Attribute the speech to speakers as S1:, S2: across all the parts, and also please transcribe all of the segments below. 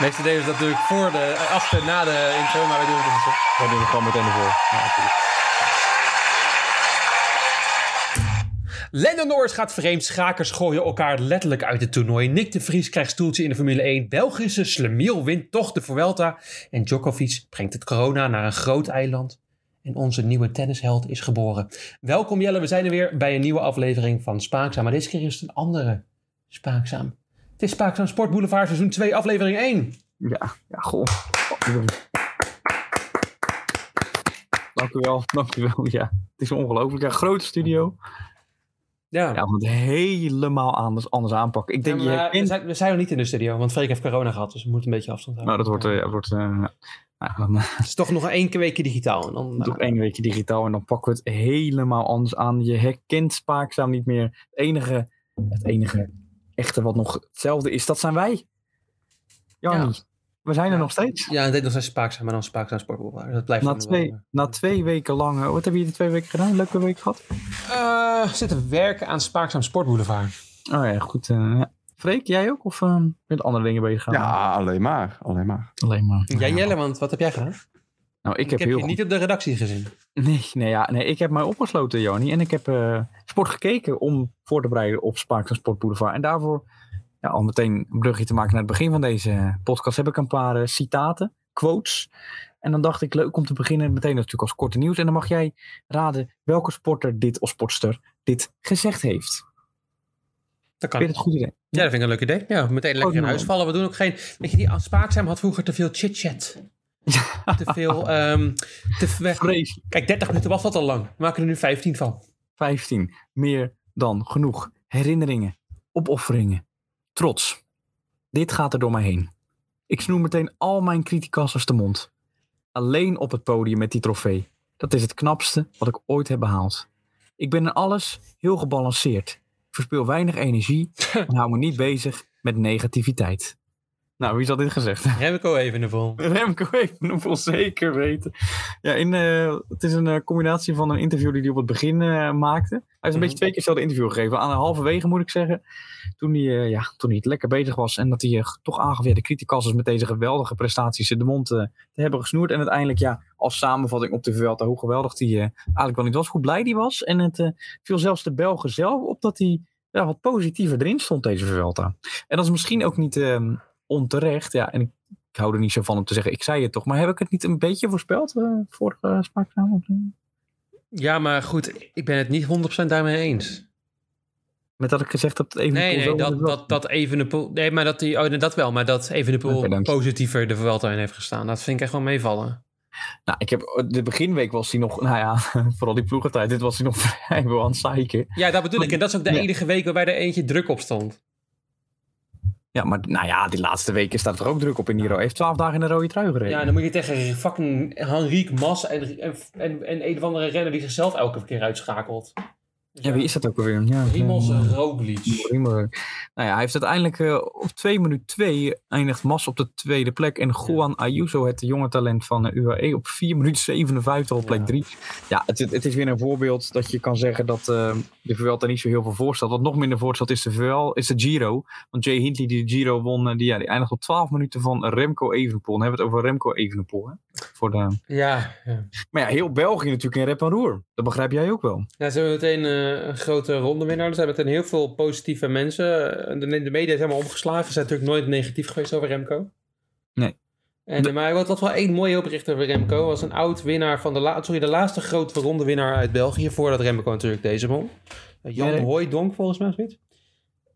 S1: Meestal deden ze dus dat natuurlijk voor de, achter, na de intro, maar wij doen het dus.
S2: Daar doen we gewoon meteen ervoor.
S1: Lennon Norris gaat vreemd, schakers gooien elkaar letterlijk uit het toernooi. Nick de Vries krijgt stoeltje in de Formule 1. Belgische Slemiel wint toch de Vuelta. En Djokovic brengt het corona naar een groot eiland. En onze nieuwe tennisheld is geboren. Welkom Jelle, we zijn er weer bij een nieuwe aflevering van Spaakzaam. Maar deze keer is het een andere Spaakzaam. Het is Spaakzaam Sport Boulevard seizoen 2, aflevering 1.
S2: Ja, ja, goh. Dank u wel, dank u wel. Ja, het is ongelooflijk. Ja, grote studio.
S1: Ja,
S2: Ja, we moeten het helemaal anders, anders aanpakken. Ik denk,
S1: Ja, maar eh, we,
S2: je herkent...
S1: zijn, we zijn nog niet in de studio, want Freek heeft corona gehad. Dus we moeten een beetje afstand houden.
S2: Nou, dat wordt... eh, ja, wordt eh, nou, nou, dan eh,
S1: Het is toch nog één weekje digitaal. En dan, nou,
S2: doe ik één weekje digitaal en dan pakken we het helemaal anders aan. Je herkent spaakzaam niet meer. Het enige, het enige echte wat nog hetzelfde is, dat zijn wij. Jannie, we zijn er
S1: Ja.
S2: nog steeds.
S1: Ja, en dit nog steeds spaakzaam, maar dan spaakzaam sportboulevard. Dus Dat blijft
S2: Na
S1: dan
S2: twee,
S1: wel,
S2: na twee weken lang... eh, wat hebben jullie twee weken gedaan? Leuke week gehad?
S1: eh. Eh, zitten werken aan spaakzaam sportboulevard.
S2: Oh ja, goed. eh, ja. Freek, jij ook? Of eh, met andere dingen bezig gaan?
S3: Ja, alleen maar. Alleen maar.
S2: alleen maar.
S1: Jij Jelle, want wat heb jij gedaan? Ik
S2: Nou, ik heb,
S1: heb
S2: heel
S1: je
S2: goed-
S1: niet op de redactie gezien.
S2: Nee, nee, ja, nee, ik heb mij opgesloten, Joni. En ik heb eh, sport gekeken om voor te bereiden op Spaak en Sport Boulevard. En daarvoor, ja, om meteen een brugje te maken naar het begin van deze podcast, heb ik een paar eh, citaten, quotes. En dan dacht ik, leuk om te beginnen meteen natuurlijk als korte nieuws. En dan mag jij raden welke sporter dit of sportster dit gezegd heeft.
S1: Dat
S2: Vind
S1: kan.
S2: je het goed idee?
S1: Ja, dat vind ik een leuk idee. Ja, meteen lekker in
S2: nou.
S1: huis vallen. We doen ook geen... Weet je, die aan spaakzaam had vroeger te veel chit-chat. Te veel... ehm, te veel
S2: Vrees
S1: Kijk, 30 minuten was dat al lang. We maken er nu 15 van.
S2: 15. Meer dan genoeg. Herinneringen, opofferingen, trots. Dit gaat er door mij heen. Ik snoer meteen al mijn criticassers de mond. Alleen op het podium met die trofee. Dat is het knapste wat ik ooit heb behaald. Ik ben in alles heel gebalanceerd. Ik verspil weinig energie en hou me niet bezig met negativiteit. Nou, wie zal dit gezegd
S1: Remco even in de vol.
S2: Remco Evenepoel, zeker weten. Ja, in, eh, het is een eh, combinatie van een interview die hij op het begin eh, maakte. Hij is een
S1: Mhm.
S2: beetje twee keer hetzelfde interview gegeven. Aan de halverwege moet ik zeggen. Toen hij, eh, ja, toen hij het lekker bezig was. En dat hij eh, toch aangaf, ja, de criticassers met deze geweldige prestaties in de mond eh, te hebben gesnoerd. En uiteindelijk ja, als samenvatting op de Vuelta hoe geweldig hij eh, eigenlijk wel niet was. Hoe blij hij was. En het eh, viel zelfs de Belgen zelf op dat hij ja, wat positiever erin stond deze Vuelta. En dat is misschien ook niet ehm, onterecht. Ja, en ik ik hou er niet zo van om te zeggen, ik zei het toch. Maar heb ik het niet een beetje voorspeld eh, vorige uh,
S1: Ja, maar goed. Ik ben het niet 100% daarmee eens.
S2: Met dat ik gezegd heb dat even
S1: Nee, nee, dat, dat, dat Evenepoel... Nee, maar dat, die, oh, nee, dat wel. Maar dat Evenepoel
S2: Oké, dank je.
S1: positiever de Vuelta in heeft gestaan. Dat vind ik echt wel meevallen.
S2: Nou, ik heb, de beginweek was hij nog, nou ja, vooral die ploegentijd, dit was hij nog vrijwel aan het zeiken.
S1: Ja, dat bedoel ik. En dat is ook de
S2: Ja.
S1: enige week waarbij er eentje druk op stond.
S2: Ja, maar nou ja, die laatste weken staat er ook druk op in Niro. Hij heeft twaalf dagen in de rode trui gereden.
S1: Ja, en dan moet je tegen fucking Henrique Mas en, en, en, en een of andere renner die zichzelf elke keer uitschakelt. Dus
S2: Ja, wie is dat ook alweer? Ja,
S1: Primoz
S2: eh,
S1: Roglic.
S2: Rimmelberg. Nou ja, hij heeft uiteindelijk eh, op 2 minuut 2 eindigt Mas op de tweede plek. En Juan Ayuso, het jonge talent van eh, UAE, op 4 minuut 57 op
S1: Ja.
S2: plek 3. Ja, het, het is weer een voorbeeld dat je kan zeggen dat eh, de Vuelta niet zo heel veel voorstelt. Wat nog minder voorstelt is de, Vuel, is de Giro. Want Jay Hindley die de Giro won, eh, die, ja, die eindigt op 12 minuten van Remco Evenepoel. Dan hebben we het over Remco Evenepoel. Hè? Voor de...
S1: Ja, ja.
S2: Maar ja, heel België natuurlijk in rep en roer. Dat begrijp jij ook wel.
S1: ja, ze hebben meteen eh, een grote ronde winnaar. Er zijn meteen heel veel positieve mensen. Eh, De, de media is helemaal omgeslagen. Ze zijn natuurlijk nooit negatief geweest over Remco.
S2: Nee.
S1: En,
S2: De-
S1: eh, maar wat, wat wel één mooi bericht over Remco. Was een oud winnaar van de, la, sorry, de laatste grote ronde winnaar uit België. Voordat Remco natuurlijk deze won. Eh, Jan
S2: Nee, nee.
S1: Hooijdonk volgens mij of zoiets.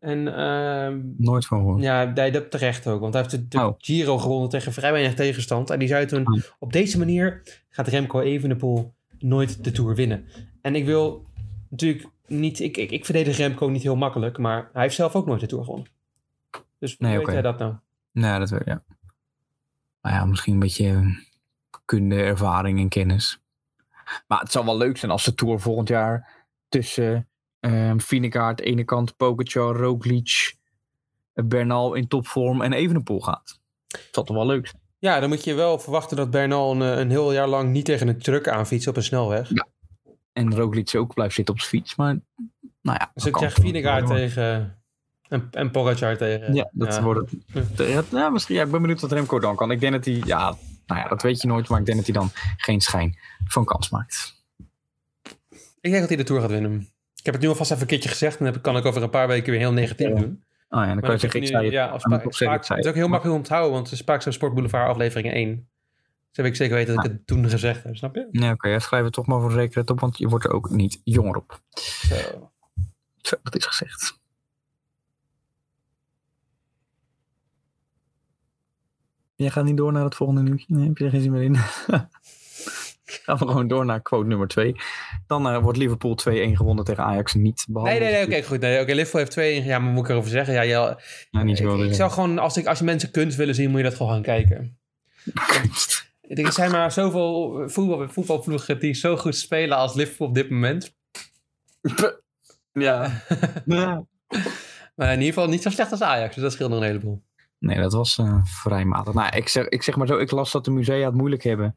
S1: En ehm,
S2: Nooit van gehoord.
S1: ja, hij dat terecht ook. Want hij heeft de, de
S2: Oh.
S1: Giro gewonnen tegen vrij weinig tegenstand. En die zei toen,
S2: Oh.
S1: op deze manier gaat Remco Evenepoel nooit de Tour winnen. En ik wil natuurlijk niet... Ik, ik, ik verdedig Remco niet heel makkelijk, maar hij heeft zelf ook nooit de Tour gewonnen. Dus hoe
S2: Nee,
S1: weet
S2: oké.
S1: hij dat nou?
S2: Nou, dat wel, ja. Maar ja, misschien een beetje eh, kunde, ervaring en kennis. Maar het zou wel leuk zijn als de Tour volgend jaar tussen um, Vinegaard, ene kant, Pogacar, Roglic, eh, Bernal in topvorm en Evenepoel gaat. Dat zou toch wel leuk zijn?
S1: Ja, dan moet je wel verwachten dat Bernal een, eh, een heel jaar lang niet tegen een truck aanfietst op een snelweg.
S2: En Roglic ook blijft zitten op zijn fiets, maar nou ja.
S1: Dus ik
S2: dat kan
S1: krijg
S2: toch
S1: Vinegaard eh,
S2: wel.
S1: tegen eh, En, en Pogacar tegen...
S2: Ja, dat wordt het. Ja, nou, misschien, ja, ik ben benieuwd wat Remco dan kan. Ik denk dat hij, ja, nou ja, dat weet je nooit, maar ik denk dat hij dan geen schijn van kans maakt.
S1: Ik denk dat hij de Tour gaat winnen. Ik heb het nu alvast even een keertje gezegd. En dan heb- kan ik over een paar weken weer heel negatief
S2: Ja.
S1: doen.
S2: Ah ja, dan kan
S1: Maar
S2: je
S1: dat
S2: zeggen, ik
S1: vind
S2: zei het.
S1: Ja, als
S2: dan moet
S1: Spaak-
S2: ik zeggen, ik
S1: Spaak-
S2: zei
S1: het is ook
S2: het.
S1: heel makkelijk om te onthouden. Want Spaakzaam Sport Boulevard aflevering 1. Dus heb ik zeker weten dat
S2: Ah.
S1: ik het toen gezegd heb. Snap je?
S2: Nee, oké, dat schrijven we toch maar voor de zekerheid op, want je wordt er ook niet jonger op.
S1: Zo.
S2: Oh, Zo, dat is gezegd. Jij gaat niet door naar het volgende nieuwtje? Nee, heb je er geen zin meer in? Gaan we gewoon door naar quote nummer 2. Dan eh, wordt Liverpool 2-1 gewonnen tegen Ajax niet. behalve-
S1: Nee, nee, nee. Oké, goed. Nee, oké, Liverpool heeft twee. Ja, maar moet ik erover zeggen? Ja, ja,
S2: Ja, nou niet
S1: ik,
S2: zoveel
S1: ik
S2: te
S1: zou gewoon, als, ik, als je mensen kunst willen zien, moet je dat gewoon gaan kijken.
S2: zeggen.
S1: Ik denk, Er zijn maar zoveel voetbal, voetbalploegen die zo goed spelen als Liverpool op dit moment.
S2: Ja.
S1: Maar in ieder geval niet zo slecht als Ajax. Dus dat scheelt nog een heleboel.
S2: Nee, dat was eh, vrij matig. Nou, ik zeg, ik zeg maar zo, ik las dat de musea het moeilijk hebben.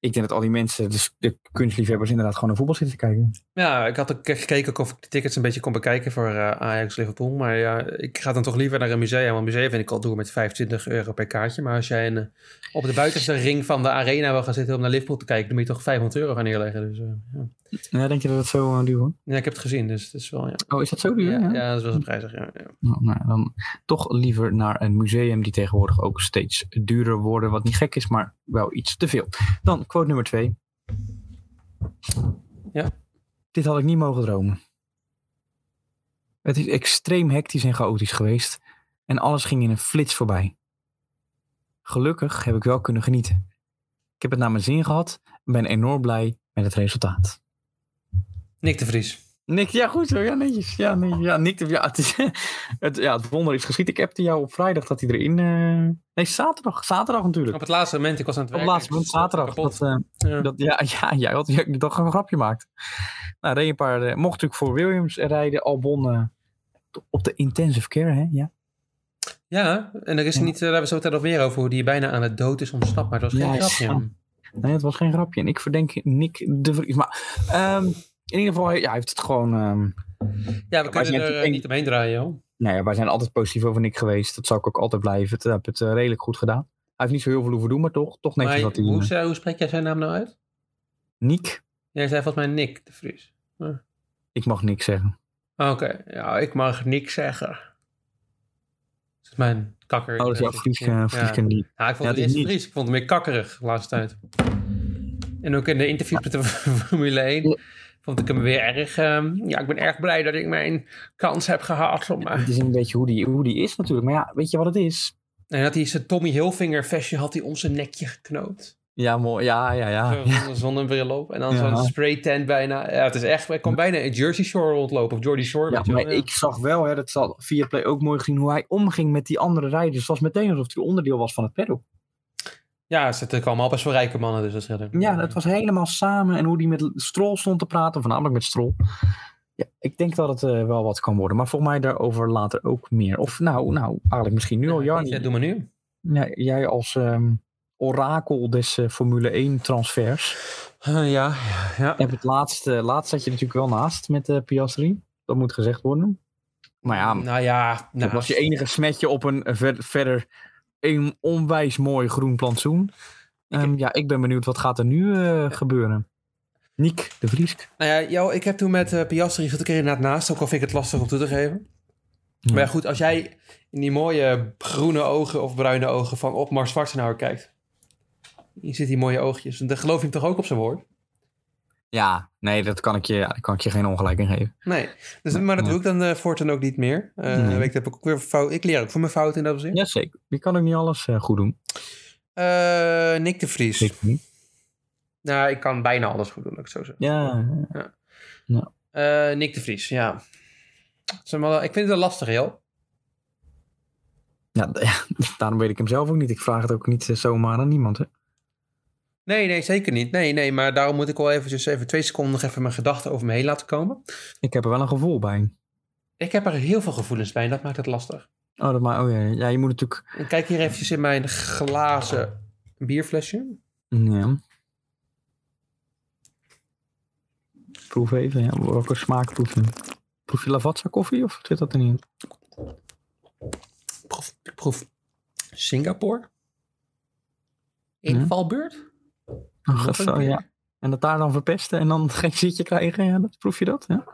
S2: Ik denk dat al die mensen, dus de kunstliefhebbers, inderdaad gewoon naar voetbal zitten te kijken.
S1: Ja, ik had ook gekeken ook of ik de tickets een beetje kon bekijken voor eh, Ajax Liverpool. Maar ja, ik ga dan toch liever naar een museum. Want een museum vind ik al door met 25 euro per kaartje. Maar als jij in, eh, op de buitenste ring van de arena wil gaan zitten om naar Liverpool te kijken, dan moet je toch 500 euro gaan neerleggen. Dus, eh, ja.
S2: Ja, denk je dat het zo eh, duur wordt?
S1: ja, ik heb het gezien, dus het is wel. Ja,
S2: Oh, is dat zo duur?
S1: ja, ja dat is wel eens prijzig. Ja, ja.
S2: Nou, nou, dan toch liever naar een museum die tegenwoordig ook steeds duurder worden. Wat niet gek is, maar wel iets te veel. Dan quote nummer twee.
S1: Ja.
S2: Dit had ik niet mogen dromen. Het is extreem hectisch en chaotisch geweest. En alles ging in een flits voorbij. Gelukkig heb ik wel kunnen genieten. Ik heb het naar mijn zin gehad en ben enorm blij met het resultaat.
S1: Nick de Vries.
S2: Nick, ja goed hoor, ja netjes. Ja, nee, ja, Nick, de- ja, het, is, het, ja, het wonder is geschied. Ik appte jou op vrijdag dat hij erin... eh, nee, zaterdag. Zaterdag natuurlijk.
S1: Op het laatste moment, ik was aan het
S2: Op het
S1: werken.
S2: laatste
S1: ik was
S2: moment, zaterdag.
S1: kapot.
S2: Dat, eh,
S1: Ja.
S2: dat, ja, ja, ja, dat, ja, dat gewoon een grapje maakt. Nou, reed een paar... eh, mocht natuurlijk voor Williams rijden. Albon eh, op de intensive care, hè? Ja,
S1: ja, en er is niet, eh, daar hebben we zo meteen nog weer over hoe die bijna aan het dood is ontsnapt. Maar het was geen
S2: Ja,
S1: grapje.
S2: ja. Nee, het was geen grapje. En ik verdenk Nick de Vries. Maar ehm, in ieder geval, ja, hij heeft het gewoon... ehm,
S1: Ja, we
S2: Maar als je
S1: kunnen
S2: net
S1: er eh,
S2: denkt-
S1: niet omheen draaien, joh.
S2: Nou ja, wij zijn altijd positief over Nick geweest. Dat zal ik ook altijd blijven. Ik heb het eh, redelijk goed gedaan. Hij heeft niet zo heel veel hoeven doen, maar toch, toch netjes
S1: Maar
S2: dat hij... eh,
S1: hoe, hoe spreek jij zijn naam nou uit?
S2: Nick,
S1: Jij zei volgens mij Nick de Vries. Ah,
S2: ik mag niks zeggen.
S1: Oké, ja, ik mag niks zeggen. Dat is mijn kakker.
S2: Oh, dat is jouw Friese, eh, Friese
S1: ja.
S2: niet.
S1: Ja, ik vond het
S2: Ja, dit
S1: eerst
S2: niet.
S1: Fries. Ik vond het meer kakkerig de laatste tijd. En ook in de interviews met de Formule 1 vond ik hem weer erg... ehm, ja, ik ben erg blij dat ik mijn kans heb gehad. Om, eh,
S2: Het is een beetje hoe die, hoe die is natuurlijk. Maar ja, weet je wat het is?
S1: en dat hij zijn Tommy Hilfiger vestje had hij om zijn nekje geknoopt.
S2: Ja, mooi. Ja, ja, Ah, ja.
S1: Zo, zonder zonnebril op. En dan
S2: Ja.
S1: zo'n spray tent bijna. Ja, het is echt... Ik kon bijna in Jersey Shore rondlopen. Of Jordy Shore.
S2: Ja,
S1: weet je wel.
S2: maar ik zag wel, hè, dat zal via Play ook mooi gezien, hoe hij omging met die andere rijders. Het was meteen alsof hij onderdeel was van het peddel.
S1: Ja, ze zitten allemaal best wel rijke mannen, dus dat scheelt.
S2: Ja, het was helemaal samen. En hoe hij met Strol stond te praten, voornamelijk met Strol. Ja, ik denk dat het eh, wel wat kan worden. Maar volgens mij daarover later ook meer. Of nou, nou eigenlijk misschien nu al, Jarni.
S1: Ja, doe maar nu.
S2: Ja, jij als ehm, orakel des eh, Formule 1 transfers.
S1: ja, ja.
S2: Heb het laatste, laatst zat je natuurlijk wel naast met eh, Piastri. Dat moet gezegd worden. Maar ja,
S1: Nou ja,
S2: dat
S1: nou,
S2: was je enige smetje op een eh, ver- verder een onwijs mooi groen plantsoen. Ehm, ja, ik ben benieuwd wat gaat er nu eh, gebeuren. Niek de Vriesk.
S1: nou ja, jou, ik heb toen met eh, Piastri zat ik er inderdaad naast, ook al vind ik het lastig om toe te geven.
S2: Ja.
S1: Maar ja, goed, als jij in die mooie groene ogen of bruine ogen van Opmar Schwarzenauer kijkt. Je ziet die mooie oogjes. Dan geloof je hem toch ook op zijn woord?
S2: Ja, nee, dat kan ik je, ja, daar kan ik je geen ongelijk in geven.
S1: Nee. Dus, maar dat
S2: Nee.
S1: doe ik dan eh voortaan ook niet meer. Eh
S2: Nee.
S1: weet ik, heb ik, ook weer fout, ik leer ook van mijn fouten in dat opzicht.
S2: Jazeker. Je kan ook niet alles eh, goed doen.
S1: Eh, Nick de Vries.
S2: Zeker niet.
S1: Nou, ik kan bijna alles goed doen, laat ik het zo zeggen.
S2: Ja,
S1: Eh, Nick de Vries, ja. Het is allemaal- ik vind het wel lastig, joh.
S2: Ja, d- ja, daarom weet ik hem zelf ook niet. Ik vraag het ook niet eh, zomaar aan niemand. Hè?
S1: Nee, nee, zeker niet. Nee, nee, maar daarom moet ik wel eventjes even twee seconden nog even mijn gedachten over me heen laten komen.
S2: Ik heb er wel een gevoel bij.
S1: Ik heb er heel veel gevoelens bij en dat maakt het lastig.
S2: Oh, dat maar, oh ja, ja, je moet natuurlijk.
S1: En kijk hier eventjes in mijn glazen bierflesje.
S2: Ja. Proef even, ja. welke smaak proef je? Proef je Lavazza koffie of zit dat er niet in?
S1: proef Singapore. Invalbeurt.
S2: Oh, dat zo, ja. En dat daar dan verpesten en dan geen zitje krijgen. Ja, dat, proef je dat? Ja.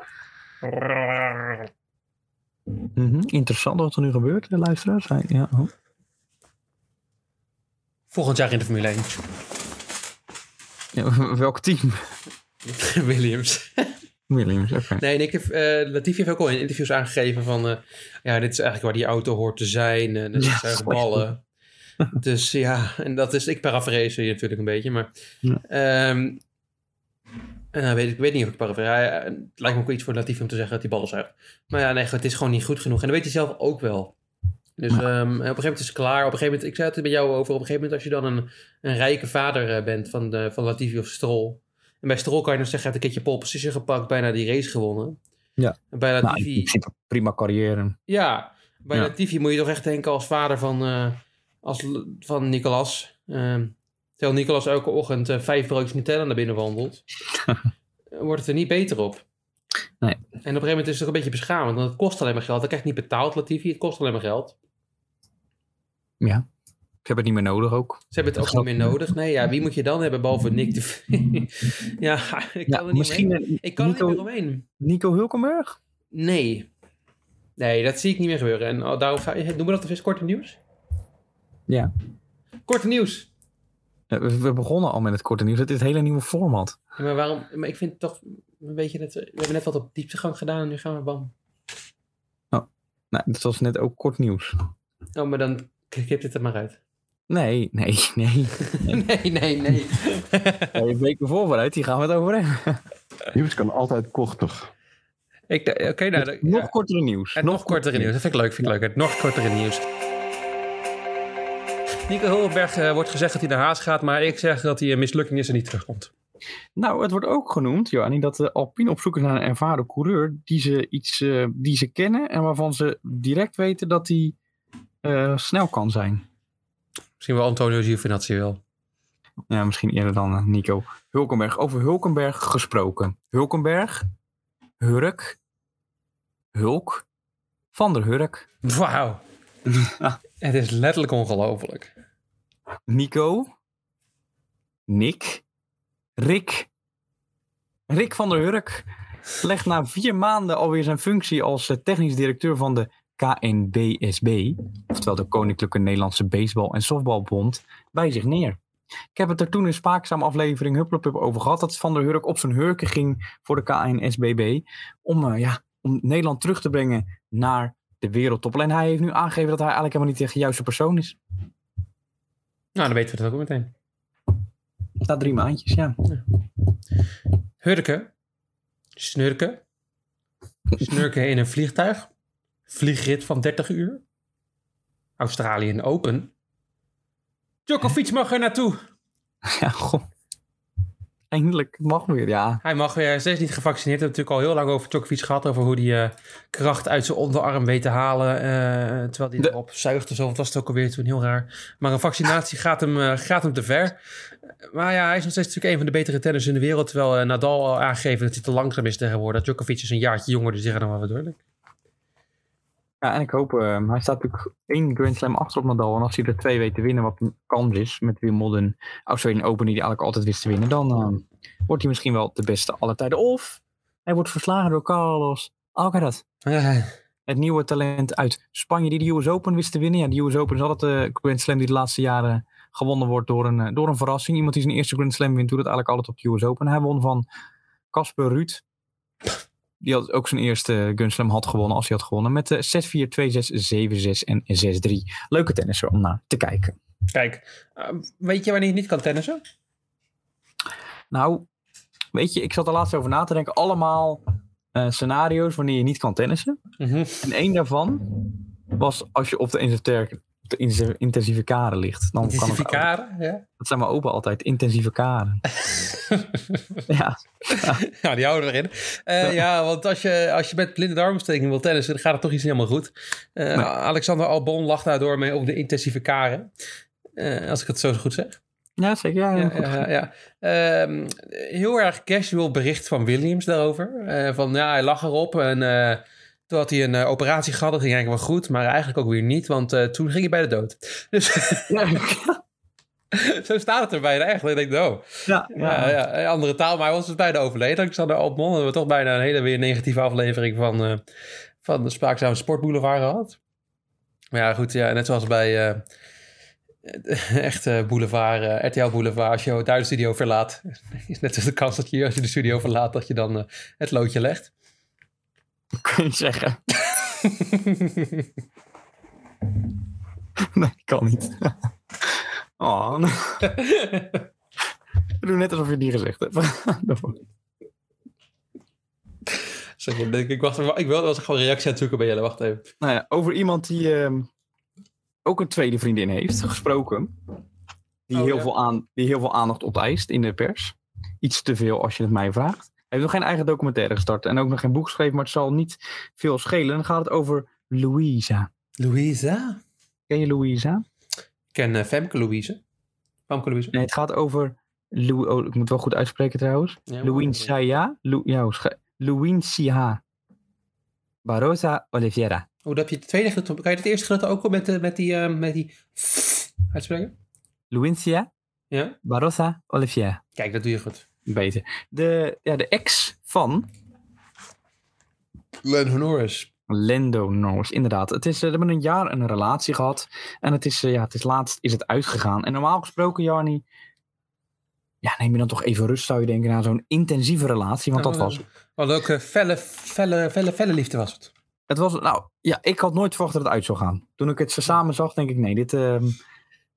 S2: Mhm, Interessant wat er nu gebeurt, eh, luisteraars. Hij- Ja, oh.
S1: Volgend jaar in de Formule
S2: ja, welk team?
S1: 1. Williams.
S2: Williams, oké.
S1: Nee, en ik heb, eh, Latifi heeft ook al in interviews aangegeven van... eh, ja, dit is eigenlijk waar die auto hoort te zijn. En dat
S2: Ja,
S1: zijn
S2: goeie.
S1: ballen. dus ja, en dat is... Ik paraphrase hier natuurlijk een beetje, maar...
S2: Ja.
S1: ehm, en dan weet ik, ik weet niet of ik paraphrase. Hij- eh, Het lijkt me ook wel iets voor Latifi om te zeggen dat hij ballen zuigt. Maar ja, nee, goed, het is gewoon niet goed genoeg. En dat weet hij zelf ook wel. Dus ehm, en op een gegeven moment is het klaar. Op een gegeven moment, ik zei het er bij jou over. Op een gegeven moment, als je dan een, een rijke vader eh, bent van, de, van Latifi of Stroll... En bij Stroll kan je dan zeggen, hij heeft een keertje pole position gepakt, bijna die race gewonnen.
S2: Ja.
S1: En bij
S2: Nou,
S1: Latifi,
S2: ik vind dat prima carrière.
S1: ja, bij
S2: Ja.
S1: Latifi moet je toch echt denken als vader van, eh, als, l- van Nicolas. Ehm, terwijl Nicolas elke ochtend eh, vijf broodjes Nutella naar binnen wandelt, eh, wordt het er niet beter op.
S2: Nee.
S1: En op een gegeven moment is het ook een beetje beschamend, want het kost alleen maar geld. Dat krijgt niet betaald, Latifi, het kost alleen maar geld.
S2: Ik heb het niet meer nodig ook.
S1: Ze hebben het
S2: Dat
S1: ook niet
S2: geloof
S1: meer
S2: ik.
S1: nodig. Nee, ja, wie moet je dan hebben, behalve Nick de V- ja, ik kan
S2: Ja,
S1: er niet
S2: misschien
S1: meer-
S2: eh,
S1: Ik kan er
S2: Nico,
S1: niet meer omheen.
S2: Nico Hulkenberg?
S1: Nee. Nee, dat zie ik niet meer gebeuren. En oh, daarom ga, eh, doen we dat even korte nieuws?
S2: Ja.
S1: Korte nieuws.
S2: Eh, We we begonnen al met het korte nieuws. Het is het hele nieuwe format.
S1: Ja, maar waarom? Maar ik vind het toch een beetje net... We hebben net wat op dieptegang gedaan en nu gaan we bam.
S2: Nou, dat was net ook kort nieuws.
S1: Oh, maar dan knip dit er maar uit.
S2: Nee, nee, nee.
S1: nee, nee, nee.
S2: Ja, Je week ervoor vooruit, die gaan we het over hebben.
S3: Nieuws kan altijd korter.
S1: Ik d- Oké, nou... dan-
S2: nog
S1: ja.
S2: kortere nieuws.
S1: En nog kortere nieuws. Dat vind ik leuk, vind ik leuk. Het nog kortere nieuws. Nico Hulberg wordt gezegd dat hij naar Haas gaat, maar ik zeg dat hij een mislukking is en niet terugkomt.
S2: Nou, het wordt ook genoemd, Johanni, dat de Alpine op zoek is naar een ervaren coureur die ze, iets, eh, die ze kennen en waarvan ze direct weten dat hij eh, snel kan zijn.
S1: Misschien wel Antonio Giovinazzi wel.
S2: Ja, misschien eerder dan eh, Nico. Hulkenberg. Over Hulkenberg gesproken. Hulkenberg, Hurk, Hulk, Van der Hurk,
S1: Wauw. Het is letterlijk ongelooflijk.
S2: Nico, Nick, Rick. Rick van der Hurk legt na vier maanden alweer zijn functie als eh, technisch directeur van de KNBSB, oftewel de Koninklijke Nederlandse Baseball- en Softbalbond, bij zich neer. Ik heb het er toen in spaakzaam aflevering Hupplepup over gehad, dat Van der Hurk op zijn hurken ging voor de KNSBB om, eh, ja, om Nederland terug te brengen naar de wereldtop. En hij heeft nu aangegeven dat hij eigenlijk helemaal niet de juiste persoon is.
S1: Nou, dan weten we dat ook meteen.
S2: Na drie maandjes, ja.
S1: Hurken. Snurken. Snurken in een vliegtuig. Vliegrit van 30 uur. Australië Open. Djokovic mag er naartoe.
S2: Ja, goh. Eindelijk mag weer, ja.
S1: Hij mag weer steeds niet gevaccineerd. We hebben het natuurlijk al heel lang over Djokovic gehad. Over hoe hij eh, kracht uit zijn onderarm weet te halen. eh, terwijl hij
S2: De-
S1: erop zuigt of zo. Wat was het ook alweer toen? Heel raar. Maar een vaccinatie gaat hem, eh, gaat hem te ver. Maar ja, hij is nog steeds natuurlijk een van de betere tenners in de wereld. Terwijl eh, Nadal al aangegeven dat hij te langzaam is tegenwoordig. Djokovic is een jaartje jonger, dus die gaat nog wel wat door.
S2: Ja, en ik hoop, eh, hij staat natuurlijk één Grand Slam achter op Nadal. En als hij er twee weet te winnen, wat een kans is met Wimbledon, Australian Open, die hij eigenlijk altijd wist te winnen, dan eh, wordt hij misschien wel de beste aller tijden. Of hij wordt verslagen door Carlos Alcaraz.
S1: Eh,
S2: Het nieuwe talent uit Spanje, die de US Open wist te winnen. Ja, de US Open is altijd de Grand Slam die de laatste jaren gewonnen wordt door een, eh, door een verrassing. Iemand die zijn eerste Grand Slam wint, doet het eigenlijk altijd op de US Open. Hij won van Casper Ruud. Die had ook zijn eerste eh, Grand Slam had gewonnen als hij had gewonnen. Met eh, 6-4, 2-6, 7-6 en 6-3. Leuke tennisser om naar te kijken.
S1: kijk, eh, weet je wanneer je niet kan tennissen?
S2: Nou, weet je, ik zat er laatst over na te denken. Allemaal eh, scenario's wanneer je niet kan tennissen. En één daarvan was als je op de, inter- de inter- intensieve kade ligt. Dan kan het, ook-
S1: Intensificaren, ja.
S2: dat zijn mijn opa altijd, intensieve kade. ja,
S1: Ja, die houden we erin. Eh, ja. want als je, als je met blinde darmsteking wil tennissen, dan gaat het toch iets niet helemaal goed. Eh, Alexander Albon lag daardoor mee op de intensieve karen. Eh, als ik het zo goed zeg.
S2: ja zeker. Ja,
S1: Ja,
S2: ja, goed.
S1: ja, ja. Ehm, heel erg casual bericht van Williams daarover. Eh, van ja, hij lag erop en eh, Toen had hij een eh, operatie gehad, dat ging eigenlijk wel goed, maar eigenlijk ook weer niet, want eh, toen ging hij bij de dood. Dus zo staat het er bijna echt. En ik denk, oh,
S2: ja,
S1: ja,
S2: ja.
S1: ja, een andere taal, maar hij was dus bijna overleden. Ik zat er op mond, we toch bijna een hele weer negatieve aflevering van, eh, van de Spraakzame Sportboulevard gehad. Maar ja, goed, ja, net zoals bij eh, echt eh, boulevard, eh, RTL Boulevard, als je daar de studio verlaat, is net als de kans dat je, als je de studio verlaat, dat je dan eh, het loodje legt.
S2: kun je zeggen. nee, kan niet. Oh, nee. Doe net alsof je het niet gezegd hebt. Daarvoor.
S1: Zeg, ik, denk, ik, wacht, even, ik wilde wel eens gewoon een reactie aan het zoeken bij jullie. Wacht even.
S2: nou ja, over iemand die ehm, ook een tweede vriendin heeft gesproken. Die,
S1: Oh,
S2: heel
S1: ja.
S2: veel aan, die heel veel aandacht opeist in de pers. Iets te veel als je het mij vraagt. Hij heeft nog geen eigen documentaire gestart en ook nog geen boek geschreven, maar het zal niet veel schelen. Dan gaat het over Louisa.
S1: Louisa?
S2: Ken je Louisa?
S1: Ik ken eh, Femke Louise. Famke Louise.
S2: Nee, het gaat over. Lou, oh, ik moet wel goed uitspreken trouwens.
S1: Ja,
S2: Luincia. Lu, ja, hoe schrijf- Luincia. Barosa Oliveira.
S1: Hoe Oh, dat je het tweede gedeelte... Kan je het eerste gedeelte ook al met, eh, met die... eh, met die uitspreken?
S2: Luincia
S1: Ja?
S2: Barosa Oliveira.
S1: Kijk, dat doe je goed.
S2: Beter. De, ja, de ex van
S1: Len Honoris.
S2: Lando Norris, inderdaad. Het is, eh, ze hebben een jaar een relatie gehad. En het is, eh, ja, het is laatst is het uitgegaan. En normaal gesproken, Jarni. Ja, neem je dan toch even rust, zou je denken, na zo'n intensieve relatie. Want dat was
S1: Wat ook eh, felle, felle, felle, felle liefde was het.
S2: Het was, nou ja, ik had nooit verwacht dat het uit zou gaan. Toen ik het ze samen zag, denk ik, nee, dit, ehm,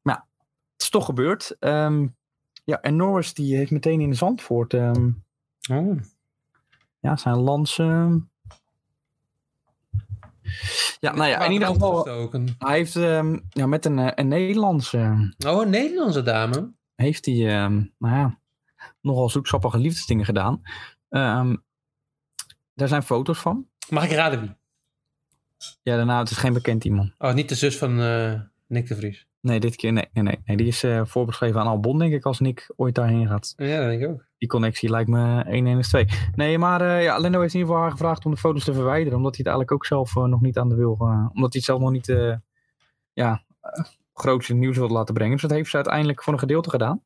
S2: maar ja, het is toch gebeurd. Ehm, ja, en Norris die heeft meteen in Zandvoort, ehm,
S1: Oh.
S2: ja, zijn lans. ehm. Ja, nou ja, in ieder geval, hij heeft ehm, ja, met een, eh, een Nederlandse, ehm,
S1: Oh, een Nederlandse dame.
S2: heeft hij, ehm, nou ja, nogal zoeksappige liefdesdingen gedaan. Ehm, daar zijn foto's van.
S1: Mag ik raden wie?
S2: Ja, daarna, het is geen bekend iemand.
S1: Oh, niet de zus van eh, Nick de Vries.
S2: Nee, dit keer nee. nee, nee, nee. Die is eh, voorbeschreven aan Albon, denk ik, als Nick ooit daarheen gaat.
S1: Ja, dat denk ik ook.
S2: Die connectie lijkt me 1 1 is 2. Nee, maar eh ja, Lendo heeft in ieder geval haar gevraagd om de foto's te verwijderen. Omdat hij het eigenlijk ook zelf eh, nog niet aan de wil... eh, omdat hij het zelf nog niet eh ja, eh, groots in het nieuws wilde laten brengen. Dus dat heeft ze uiteindelijk voor een gedeelte gedaan.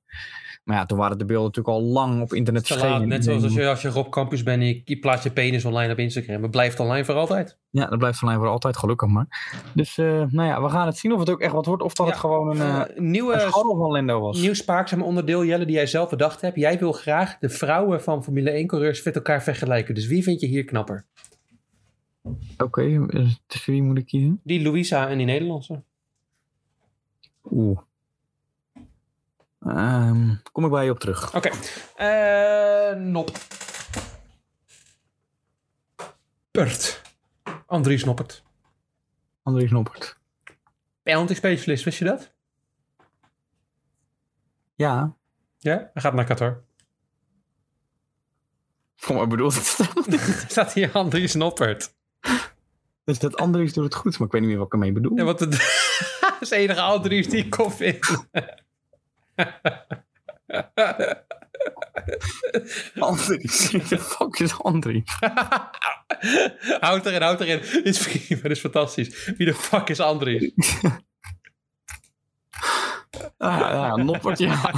S2: Maar ja, toen waren de beelden natuurlijk al lang op internet
S1: Te
S2: verschenen.
S1: laat, net zoals als
S2: En-
S1: je, als je Rob Campus bent, je, je plaatst je penis online op Instagram. Het blijft online voor altijd.
S2: Ja, dat blijft van mij voor altijd gelukkig maar. Dus eh, nou ja, we gaan het zien of het ook echt wat wordt. Of dat
S1: Ja,
S2: het gewoon een, eh
S1: Eh, nieuwe,
S2: een scharrel van Lendo was.
S1: nieuw spaakzaam onderdeel, Jelle, die jij zelf bedacht hebt. Jij wil graag de vrouwen van Formule 1-coureurs met elkaar vergelijken. Dus wie vind je hier knapper?
S2: Oké, eh, tussen wie moet ik kiezen?
S1: Die Louisa en die Nederlandse.
S2: Oeh. Ehm, kom ik bij je op terug.
S1: Oké. Eh, Nop. Pert. Andries Noppert.
S2: Andries Noppert.
S1: Penalty specialist, wist je dat?
S2: Ja.
S1: Ja, hij gaat naar Qatar.
S2: Voor mij bedoeld.
S1: Staat hier Andries Noppert.
S2: dus dat Andries doet het goed, maar ik weet niet meer wat ik ermee bedoel.
S1: Ja, want het is de enige Andries die ik kon vinden.
S2: Andries. De fuck is Andries?
S1: houd erin, houd erin. Dit is prima, dit is fantastisch. Wie de fuck is Andries?
S2: Ah, ja, Noppert, ja.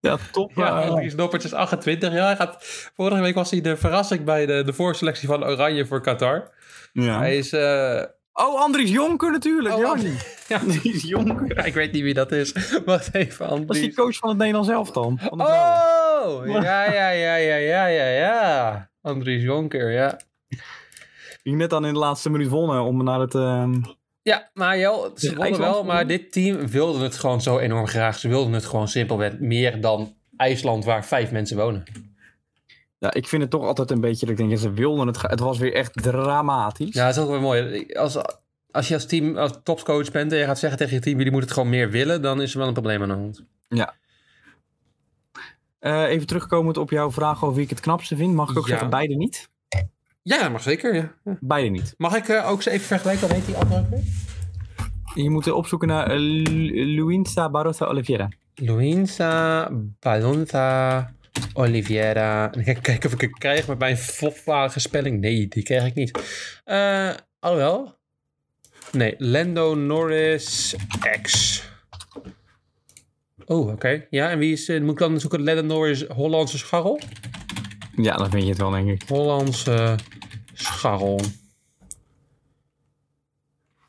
S2: Ja, top.
S1: ja,
S2: eh,
S1: Andries Noppert is 28. Ja, hij gaat, vorige week was hij de verrassing bij de, de voorselectie van Oranje voor Qatar.
S2: ja.
S1: Hij is... eh,
S2: Oh, Andries Jonker natuurlijk.
S1: Oh,
S2: ja,
S1: Andries. ja,
S2: Andries Jonker.
S1: ik weet niet wie dat is. Wacht even,
S2: Dat is die
S1: Andries.
S2: coach van het Nederlands elftal. Van de vrouwen.
S1: Oh, ja, ja, ja, ja, ja, ja, ja. Andries Jonker, ja.
S2: Die net dan in de laatste minuut wonnen om naar het... ehm,
S1: Ja, maar Jel, ze
S2: Tegen
S1: wonnen wel,
S2: IJsland?
S1: maar dit team wilde het gewoon zo enorm graag. Ze wilden het gewoon simpelweg meer dan IJsland, waar vijf mensen wonen.
S2: Ja, ik vind het toch altijd een beetje... dat Ik denk, ja, ze wilden het... gra- Het was weer echt dramatisch.
S1: Ja, dat is ook wel mooi. Als, als je als team, als topcoach bent en je gaat zeggen tegen je team, jullie moeten het gewoon meer willen, dan is er wel een probleem aan de hand.
S2: Eh, even terugkomend op jouw vraag over wie ik het knapste vind. Mag ik ook
S1: Ja.
S2: zeggen, beide niet?
S1: Ja, mag zeker. Ja.
S2: Beide niet.
S1: Mag ik eh, ook ze even vergelijken? Wat heet die andere ook weer?
S2: Je moet opzoeken naar eh, Lu- Luisa Barossa Oliveira.
S1: Luisa Balonta Oliveira. En dan ga ik kijken of ik het krijg met mijn volwaardige spelling. Nee, die krijg ik niet. Eh alhoewel. Nee, Lando Norris X. Oh, oké. Ja, en wie is... eh, moet ik dan zoeken Lando Norris Hollandse scharrel?
S2: Ja, dat vind je het wel, denk ik.
S1: Hollandse eh, scharrel.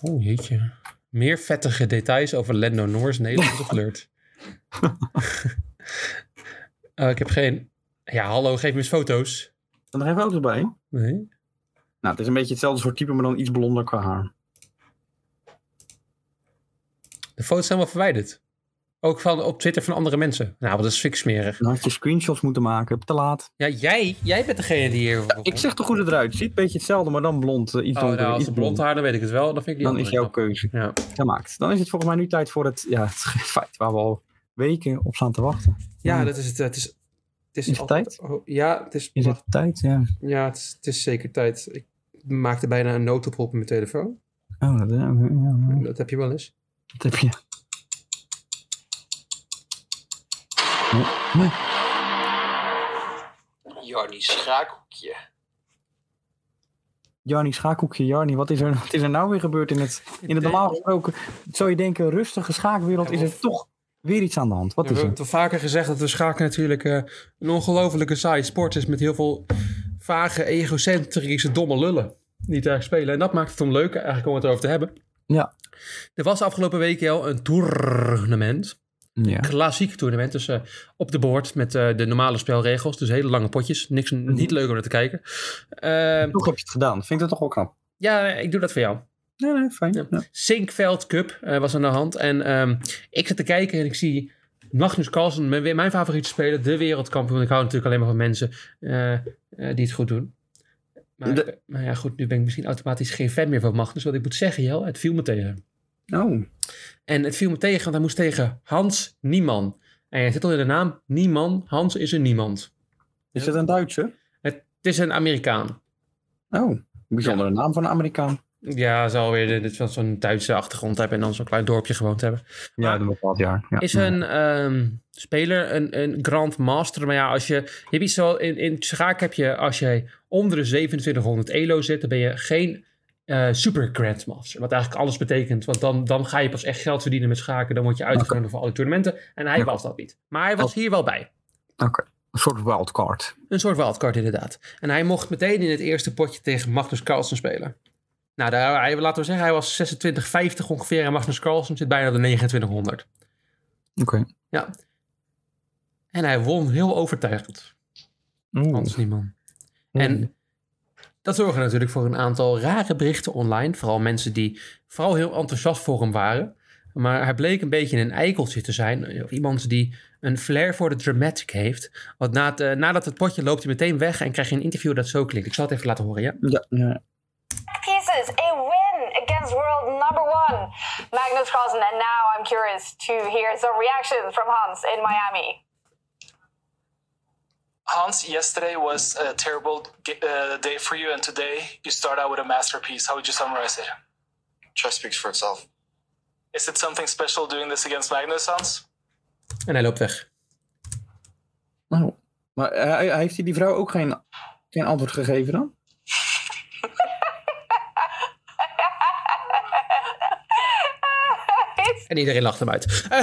S1: Oh, jeetje. Meer vettige details over Lando Norris Nederlandse flirt. Eh, ik heb geen... Ja, hallo, geef me eens foto's.
S2: Dan er even auto's bij.
S1: Nee.
S2: Nou, het is een beetje hetzelfde soort type, maar dan iets blonder qua haar.
S1: De foto's zijn wel verwijderd. Ook van, op Twitter van andere mensen. Nou, dat is fik smerig.
S2: Dan had je screenshots moeten maken, te laat.
S1: Ja, jij, jij bent degene die hier...
S2: Ik zeg toch hoe het eruit ziet, beetje hetzelfde, maar dan blond. eh, iets
S1: Oh,
S2: donkerder,
S1: nou, als
S2: iets
S1: het blond haar, dan weet ik het wel. Dan vind ik die
S2: Dan is
S1: andere
S2: jouw keuze
S1: knap. Ja.
S2: gemaakt. Dan is het volgens mij nu tijd voor het, ja, het feit waar we al weken op staan te wachten.
S1: Ja,
S2: Hmm.
S1: dat is het. eh, Het is, het is,
S2: Is het
S1: altijd- oh, ja, het is,
S2: Is het tijd? Ja.
S1: ja het, is, het is zeker tijd. Ik maakte bijna een noodoproep op mijn telefoon.
S2: Oh, dat, ja, ja, ja.
S1: Dat heb je wel eens.
S2: dat heb je. Oh,
S4: Jarnie Schaakhoekje.
S2: Jarni, schaakhoekje, Jarni, wat is er, wat is er nou weer gebeurd in het, in het normaal gesproken? Zou je denken, rustige schaakwereld, is er toch weer iets aan de hand? Wat
S1: Ja,
S2: is
S1: we
S2: er?
S1: hebben het al vaker gezegd dat de schaken natuurlijk eh, een ongelofelijke saaie sport is. Met heel veel vage, egocentrische, domme lullen. Die daar spelen. En dat maakt het om leuk eigenlijk om het over te hebben.
S2: Ja.
S1: Er was afgelopen week al een tournament.
S2: Ja.
S1: Klassiek tournament. Dus eh, op de board met eh, de normale spelregels. Dus hele lange potjes. Niks,
S2: Mhm.
S1: niet leuk om naar te kijken. Ehm,
S2: Toch heb je het gedaan. Vind ik dat toch wel knap.
S1: ja, ik doe dat voor jou.
S2: Nee, nee, fijn. Ja.
S1: Sinkveld Cup eh, was aan de hand. En ehm, ik zit te kijken en ik zie Magnus Carlsen, mijn, mijn favoriete speler, de wereldkampioen. Ik hou natuurlijk alleen maar van mensen eh, eh, die het goed doen. Maar, ik
S2: De-
S1: ben- maar ja, goed, nu ben ik misschien automatisch geen fan meer van Magnus. Want ik moet zeggen, Jel, het viel me tegen.
S2: Oh,
S1: En het viel me tegen, want hij moest tegen Hans Nieman. En hij zit al in de naam Nieman. Hans is een niemand.
S2: is dat een Duitse?
S1: Het is een Amerikaan.
S2: Oh, bijzondere naam van een Amerikaan.
S1: Ja, zal weer de- dit van zo'n Duitse achtergrond hebben en dan zo'n klein dorpje gewoond hebben.
S2: Ja, dat bepaald jaar. Ja.
S1: is een ehm, speler, een, een grand master. Maar ja, als je, je hebt iets zo, in, in schaak heb je, als jij onder de 2700 elo zit, dan ben je geen eh, super grandmaster. Wat eigenlijk alles betekent, want dan, dan ga je pas echt geld verdienen met schaken. Dan word je uitgenodigd voor alle toernooiten. En hij
S2: Ja.
S1: was dat niet. Maar hij was
S2: Oh.
S1: hier wel bij.
S2: Oké. Een soort wildcard.
S1: Een soort wildcard inderdaad. En hij mocht meteen in het eerste potje tegen Magnus Carlsen spelen. Nou, daar, hij, laten we zeggen, hij was 26, 50 ongeveer. En Magnus Carlsen zit bijna op de 2900.
S2: Oké.
S1: En hij won heel overtuigend. Hans Nieman. En
S2: Hmm.
S1: dat zorgde natuurlijk voor een aantal rare berichten online. Vooral mensen die vooral heel enthousiast voor hem waren. Maar hij bleek een beetje een eikeltje te zijn. Of iemand die een flair voor de dramatic heeft. Want na het, eh, nadat het potje loopt hij meteen weg en krijg je een interview dat zo klinkt. Ik zal het even laten horen, ja?
S2: Ja, ja.
S5: pieces, a win against world number one, Magnus Carlsen. And now I'm curious to hear some reactions from Hans in Miami.
S4: Hans, yesterday was a terrible g- uh, day for you, and today you start out with a masterpiece. How would you summarize it?
S6: Chess speaks for itself.
S4: Is it something special doing this against Magnus, Hans?
S1: En hij loopt weg.
S2: Nou, maar hij- hij- heeft hij die vrouw ook geen, geen antwoord gegeven dan?
S1: En iedereen lacht hem uit.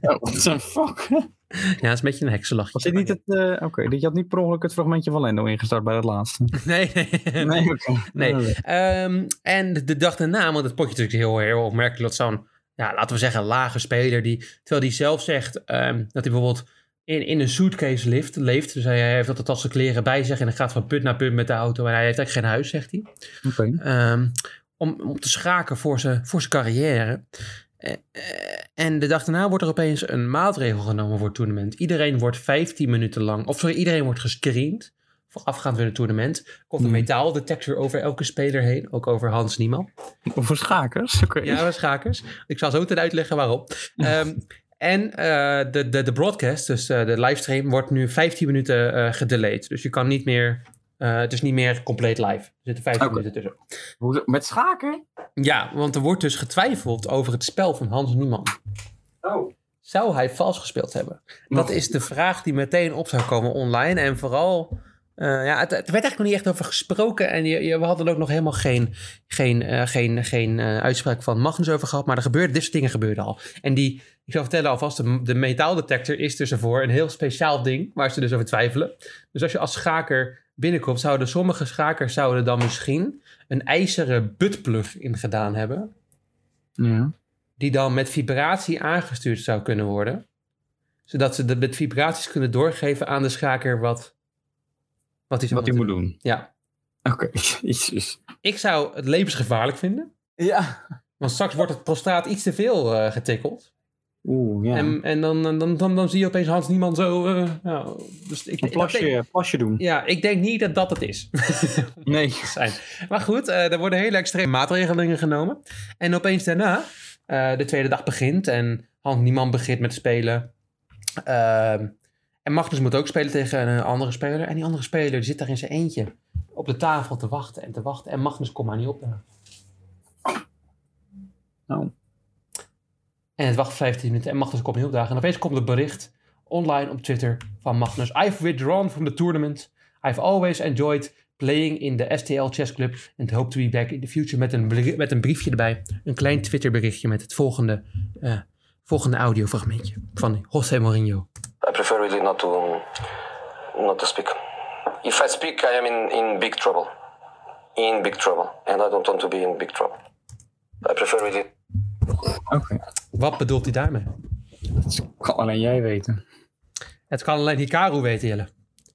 S2: Oh, what the fuck?
S1: ja, dat is een beetje een heksenlachje.
S2: Was dit niet het... eh, Oké, dit- je had niet per ongeluk het fragmentje van Lendo ingestart bij dat laatste.
S1: Nee, nee.
S2: oké.
S1: Nee.
S2: Ja,
S1: Ehm, en de dag daarna, want het potje is natuurlijk heel, heel opmerkelijk dat zo'n, ja, laten we zeggen, lage speler, die, terwijl die zelf zegt ehm, dat hij bijvoorbeeld in, in een suitcase leeft, leeft. Dus hij heeft altijd tassen kleren bij zich en hij gaat van punt naar punt met de auto en hij heeft eigenlijk geen huis, zegt hij.
S2: Oké.
S1: Ehm, om, om te schaken voor zijn, voor zijn carrière. Eh, eh, En de dag daarna wordt er opeens een maatregel genomen voor het toernooi. Iedereen wordt 15 minuten lang, of sorry, iedereen wordt gescreend. Voorafgaand weer een toernooi. Komt een
S2: Mm.
S1: metaaldetector over elke speler heen, ook over Hans Niemann.
S2: Voor schakers? Oké.
S1: Ja, we schakers. Ik zal zo ten uitleggen waarom. Ehm, en eh, de, de, de broadcast, dus eh, de livestream, wordt nu 15 minuten eh gedelayed. Dus je kan niet meer, eh, het is niet meer compleet live. Er zitten 15
S2: Oké.
S1: minuten tussen.
S2: Hoe- Met schaken?
S1: Ja, want er wordt dus getwijfeld over het spel van Hans Niemann.
S2: Oh.
S7: Zou hij vals gespeeld hebben?
S1: Dat is de vraag die meteen op zou komen online. En vooral, eh, ja, het, het werd eigenlijk nog niet echt over gesproken. En je, je, we hadden er ook nog helemaal geen, geen, eh, geen, geen eh, uitspraak van Magnus over gehad. Maar er gebeurde, dit soort dingen gebeurden al. En die, ik zal vertellen alvast, de, de metaaldetector is dus ervoor een heel speciaal ding. Waar ze dus over twijfelen. Dus als je als schaker binnenkomt, zouden sommige schakers zouden dan misschien een ijzeren buttplug in gedaan hebben
S2: Ja.
S1: die dan met vibratie aangestuurd zou kunnen worden. Zodat ze de, met vibraties kunnen doorgeven aan de schaker wat, wat hij zou
S2: Wat hij moet doen.
S1: Ja.
S2: Oké, jezus.
S1: Ik zou het levensgevaarlijk vinden.
S2: Ja.
S1: Want straks wordt het prostaat iets te veel eh, getikkeld.
S2: Oeh, ja.
S1: En, en dan, dan, dan, dan, dan zie je opeens Hans Niemand zo... eh, nou, dus ik,
S2: een
S1: dat denk-
S2: plasje, plasje doen.
S1: ja, ik denk niet dat dat het is.
S2: Nee.
S1: zijn. Maar goed, eh, er worden hele extreme maatregelingen genomen. En opeens daarna, eh, de tweede dag begint en Hans Niemann begint met spelen. Ehm, en Magnus moet ook spelen tegen een andere speler. En die andere speler die zit daar in zijn eentje op de tafel te wachten en te wachten. En Magnus komt maar niet op daar.
S2: Oh.
S1: En het wacht 15 minuten en Magnus komt niet opdagen. En opeens komt het bericht online op Twitter van Magnus. I've withdrawn from the tournament. I've always enjoyed playing in de STL Chess Club. And hope to be back in the future. Met een, beri- met een briefje erbij. Een klein Twitter berichtje met het volgende, eh, volgende audiofragmentje van José Mourinho.
S6: I prefer really not to um, not to speak. If I speak, I am in, in big trouble. In big trouble, and I don't want to be in big trouble. I prefer really.
S2: Oké.
S1: Wat bedoelt hij daarmee?
S2: Dat kan alleen jij weten.
S1: Het kan alleen Hikaru weten, Jelle.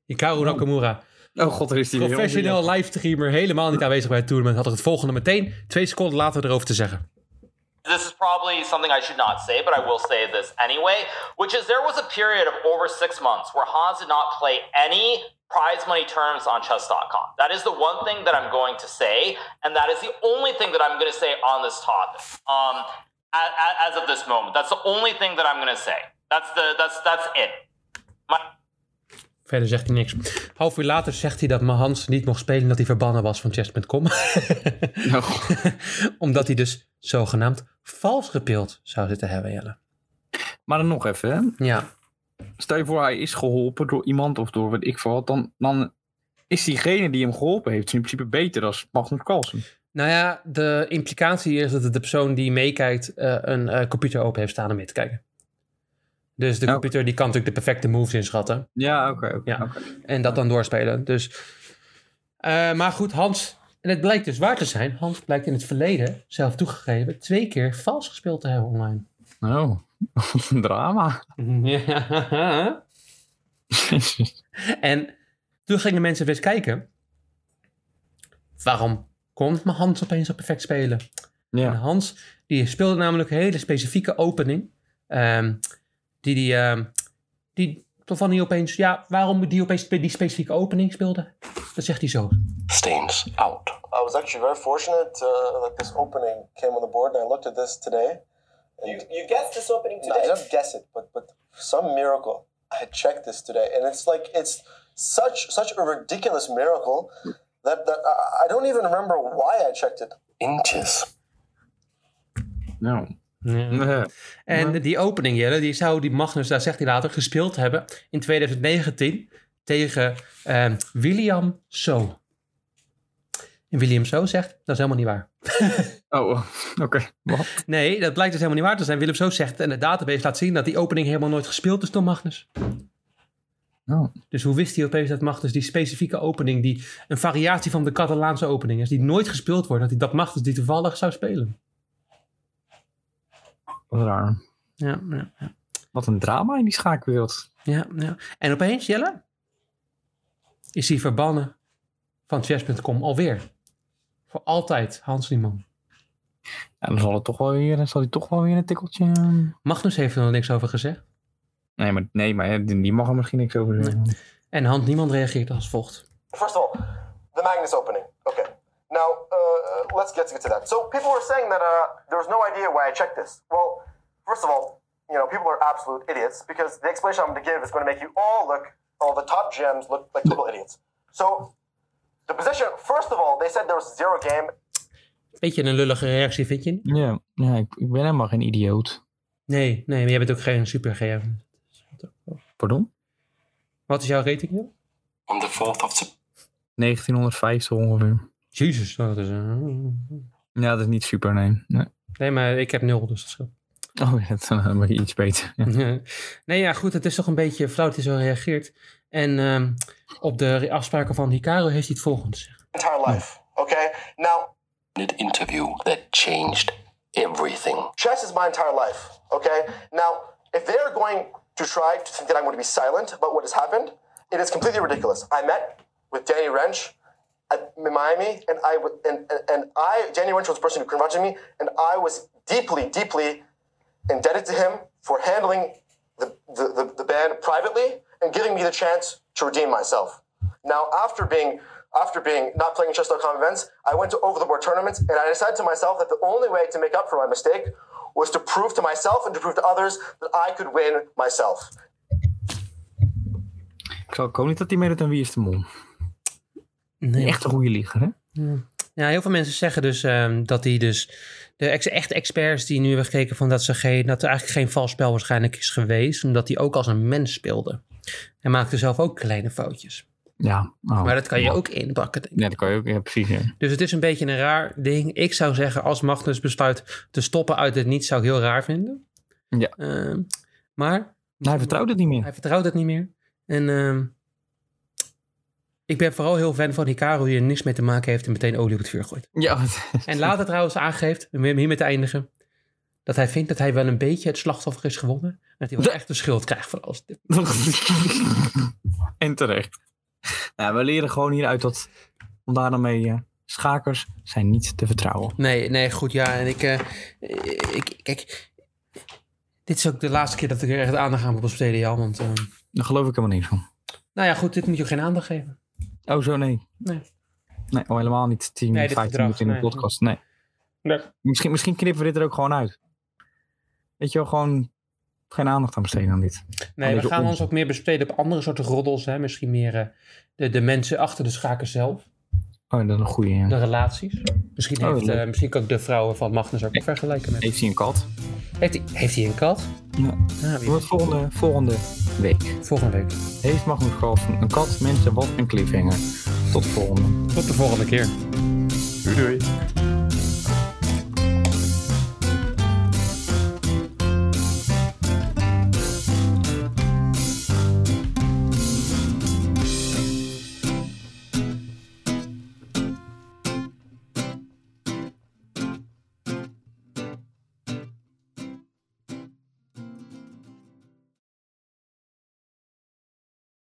S1: Hikaru Nakamura.
S2: Oh god, er is die weer.
S1: Professioneel livestreamer, helemaal niet aanwezig bij het tournament. Had ik het volgende meteen twee seconden later erover te zeggen.
S8: This is probably something I should not say, but I will say this anyway, which is there was a period of over six months where Hans did not play any prize money terms on chess.com. That is the one thing that I'm going to say, and that is the only thing that I'm going to say on this topic. Um, a- a- as of this moment, that's the only thing that I'm going to say. That's the that's that's it. My-
S1: Verder zegt hij niks. Half uur later zegt hij dat Hans niet mocht spelen... dat hij verbannen was van chess.com.
S2: Oh,
S1: Omdat hij dus zogenaamd vals gespeeld zou zitten hebben, Jelle.
S2: Maar dan nog even, hè.
S1: Ja,
S2: Stel je voor, hij is geholpen door iemand of door wat ik voor had. Dan, dan is diegene die hem geholpen heeft in principe beter dan Magnus Carlsen.
S1: Nou ja, de implicatie is dat het de persoon die meekijkt eh, een eh, computer open heeft staan om mee te kijken. Dus de
S2: Ja.
S1: computer die kan natuurlijk de perfecte moves inschatten
S2: Ja, oké. oké,
S1: Ja.
S2: oké.
S1: en dat dan doorspelen. Dus, eh, maar goed, Hans, en het blijkt dus waar te zijn, Hans blijkt in het verleden, zelf toegegeven, twee keer vals gespeeld te hebben online.
S2: Oh, wat een drama.
S1: Mhm. Ja. en toen gingen mensen weer eens kijken. Waarom kon mijn Hans opeens zo perfect spelen?
S2: Ja.
S1: En Hans, die speelde namelijk een hele specifieke opening. ehm, die die, ehm, die waarvan hij opeens, ja, waarom die opeens die specifieke opening speelde. Dat zegt hij zo.
S6: Stains out.
S9: I was actually very fortunate uh, that this opening came on the board, and I looked at this today. You, you guessed this opening today? I don't guess it, but but some miracle. I checked this today, and it's like it's such such a ridiculous miracle that, that I, I don't even remember why I checked it.
S6: Inches.
S2: Nou.
S1: En die opening, Jelle, die zou die Magnus, daar zegt hij later, gespeeld hebben in 2019 tegen ehm, William So. En William So zegt, dat is helemaal niet waar.
S2: Oh, oké. Wat?
S1: Nee, dat blijkt dus helemaal niet waar te zijn. Willem So zegt, en de database laat zien dat die opening helemaal nooit gespeeld is door Magnus.
S2: Oh.
S1: Dus hoe wist hij opeens dat Magnus die specifieke opening, die een variatie van de Catalaanse opening is, die nooit gespeeld wordt, dat, hij, dat Magnus die toevallig zou spelen?
S2: Wat raar.
S1: Ja, ja,
S2: Wat een drama in die schaakwereld.
S1: ja, ja. En opeens, Jelle, is hij verbannen van chess.com alweer. Voor altijd, Hans Niemann.
S2: Ja, dan zal, het toch wel weer, dan zal hij toch wel weer een tikkeltje... ehm,
S1: Magnus heeft er nog niks over gezegd.
S2: Nee, maar, nee, maar die die mag er misschien niks over zeggen.
S1: En Hans Niemann reageert als volgt.
S9: First of all, the Magnus opening. Okay. Now, uh, let's get to that. So, people were saying that uh, there was no idea why I checked this. Well, first of all, you know, people are absolute idiots because the explanation I'm going to give is going to make you all look, all the top gems look like total idiots. So, the position, first of all, they said there was zero game.
S1: Beetje een lullige reactie, vind je niet?
S2: Ja, ja ik, ik ben helemaal geen idioot.
S1: Nee, nee, maar jij bent ook geen super GM.
S2: Pardon?
S1: Wat is jouw rating dan?
S7: On the 4th of September.
S2: 1950 ongeveer.
S1: Jezus, dat is... eh,
S2: Ja, dat is niet super, nee. nee.
S1: Nee, maar ik heb nul, dus dat scheelt.
S2: Oh ja, dan eh, mag je iets beter. Ja.
S1: nee, ja, goed. Het is toch een beetje flauw dat hij zo reageert. En ehm, op de re- afspraken van Hikaru heeft hij het volgende gezegd.
S9: Entire life. Okay. Now,
S7: Minute interview that changed everything.
S9: chess is my entire life. Okay. Now, if they're going to try to think that I'm going to be silent about what has happened, it is completely ridiculous. I met with Danny Wrench at in Miami, and I w- and, and and I Danny Wrench was the person who confronted me, and I was deeply, deeply indebted to him for handling the, the, the, the band privately and giving me the chance to redeem myself. Now, after being after being not playing chess.com events, I went to over the board tournaments and I decided to myself that the only way to make up for my mistake was to prove to myself and to prove to others that I could win myself.
S2: Ik, zal, ik hoop niet dat hij meedoet aan Wie is de Mol.
S1: Nee.
S2: Echt een goede lieger, hè?
S1: Ja, heel veel mensen zeggen dus ehm, dat hij dus... De ex echte experts die nu hebben gekeken van dat, ze geen, dat er eigenlijk geen vals spel waarschijnlijk is geweest. Omdat hij ook als een mens speelde. Hij maakte zelf ook kleine foutjes.
S2: Ja. oh.
S1: Maar dat kan je ook inbakken, denk ik.
S2: Ja, dat kan je ook. Ja, precies. Ja.
S1: Dus het is een beetje een raar ding. Ik zou zeggen, als Magnus besluit te stoppen uit het niets, zou ik heel raar vinden.
S2: Ja.
S1: Ehm, maar
S2: Hij vertrouwt het niet meer.
S1: hij vertrouwt het niet meer. En ehm, ik ben vooral heel fan van Hikaru, die er niks mee te maken heeft en meteen olie op het vuur gooit.
S2: Ja, wat-
S1: En later trouwens aangeeft, om hiermee te eindigen, dat hij vindt dat hij wel een beetje het slachtoffer is gewonnen. En dat hij wel
S2: De-
S1: echt de schuld krijgt van alles. dit.
S2: en terecht. Nou, we leren gewoon hieruit dat, om daar dan mee, eh, schakers zijn niet te vertrouwen.
S1: Nee, nee, goed, ja. En ik, eh, ik, kijk, dit is ook de laatste keer dat ik er echt aandacht aan moet besteden, Jan. Want ehm,
S2: Daar geloof ik helemaal niks van.
S1: Nou ja, goed, dit moet je ook geen aandacht geven.
S2: Oh, zo nee.
S1: Nee.
S2: Nee, oh, helemaal niet 10,
S1: Nee, dit
S2: 15
S1: gedrag,
S2: minuten in de
S1: nee.
S2: podcast. Nee.
S1: Nee.
S2: Misschien, misschien knippen we dit er ook gewoon uit. Weet je wel, gewoon geen aandacht aan besteden aan dit.
S1: Nee,
S2: Aan
S1: we
S2: deze
S1: gaan ons
S2: onzin.
S1: ook meer besteden op andere soorten roddels. Hè? Misschien meer eh, de, de mensen achter de schaken zelf.
S2: Oh, dat is een goede.
S1: De relaties. Misschien,
S2: Oh,
S1: heeft,
S2: leuk.
S1: eh, misschien kan ik de vrouwen van Magnus ook vergelijken met.
S2: Heeft hij een kat?
S1: Heeft hij, heeft hij een kat?
S2: Ja.
S1: Ah, wie
S2: Wordt
S1: weet.
S2: volgende, volgende week.
S1: Volgende week.
S2: Heeft Magnus Carlsen een kat? Mensen, wat een cliffhanger. Tot de volgende.
S1: Tot de volgende keer.
S3: Doei doei.